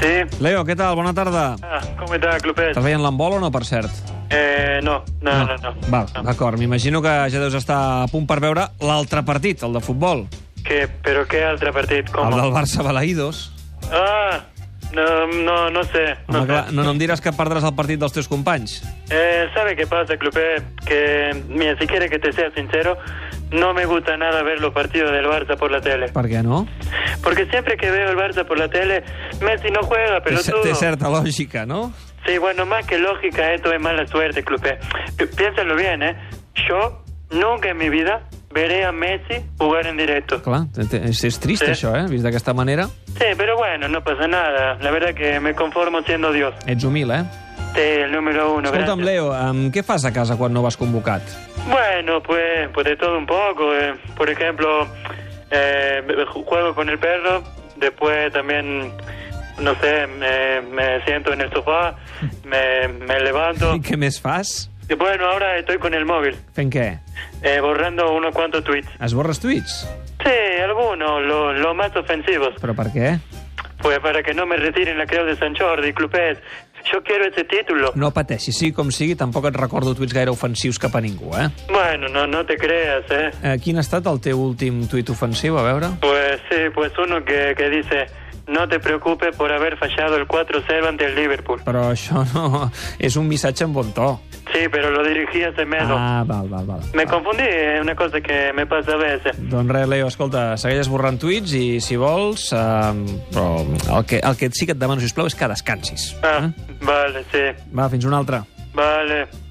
Sí. Leo, què tal? Bona tarda. Ah, com està, Clopet? Estàs veient l'embol o no, per cert? Eh, no, no, no, no. Val, no. d'acord. M'imagino que ja deus estar a punt per veure l'altre partit, el de futbol. Que, però què altre partit? Com? El del Barça Balaïdos. Ah, no, no, no sé. No, Home, clar, sé. no, no em diràs que perdràs el partit dels teus companys. Eh, ¿Sabe qué pasa, Clopet? Que, mira, si quiere que te sea sincero, no me gusta nada ver los partidos del Barça por la tele. Per què no? Porque siempre que veo el Barça por la tele, Messi no juega, Té, pero cer- té certa lògica, no? Sí, bueno, más que lógica, esto es mala suerte, Clupe. Pi- Piénsalo bien, ¿eh? Yo nunca en mi vida veré a Messi jugar en directo. Clar, té- té- és, és trist Sí. això, eh? Vist d'aquesta manera. Sí, pero bueno, no pasa nada. La verdad que me conformo siendo Dios. Ets humil, eh? Sí, el número uno. Escolta'm, gracias. Leo, em, què fas a casa quan no vas convocat? Bueno, pues, pues de todo un poco. eh. Por ejemplo, eh, ju- juego con el perro, después también, no sé, me, me siento en el sofá, me, me levanto. I què més fas? Y bueno, ahora estoy con el móvil, Fent què? eh, borrando unos cuantos tweets. Esborres tuits? Sí, algunos, los más ofensivos. Però per què? Pues para que no me retiren la creu de San Jordi, Clupés. Yo quiero ese título. No pateixis, sigui com sigui, tampoc et recordo tuits gaire ofensius cap a ningú, eh? Bueno, no, no te creas, ¿eh? eh quin ha estat el teu últim tuit ofensiu, a veure? Pues sí, pues uno que, que dice, no te preocupes por haber fallado el 4-0 ante el Liverpool. Però això no... És un missatge en bon to. Sí, pero lo dirigí hace menos. Ah, val, val, val. Me confundí, es una cosa que me pasa a veces. Doncs res, Leo, escolta, segueix esborrant tuits i, si vols, eh, però el que, el que sí que et demano, sisplau, és que descansis. Ah, vale, sí, Va, fins una altra. vale.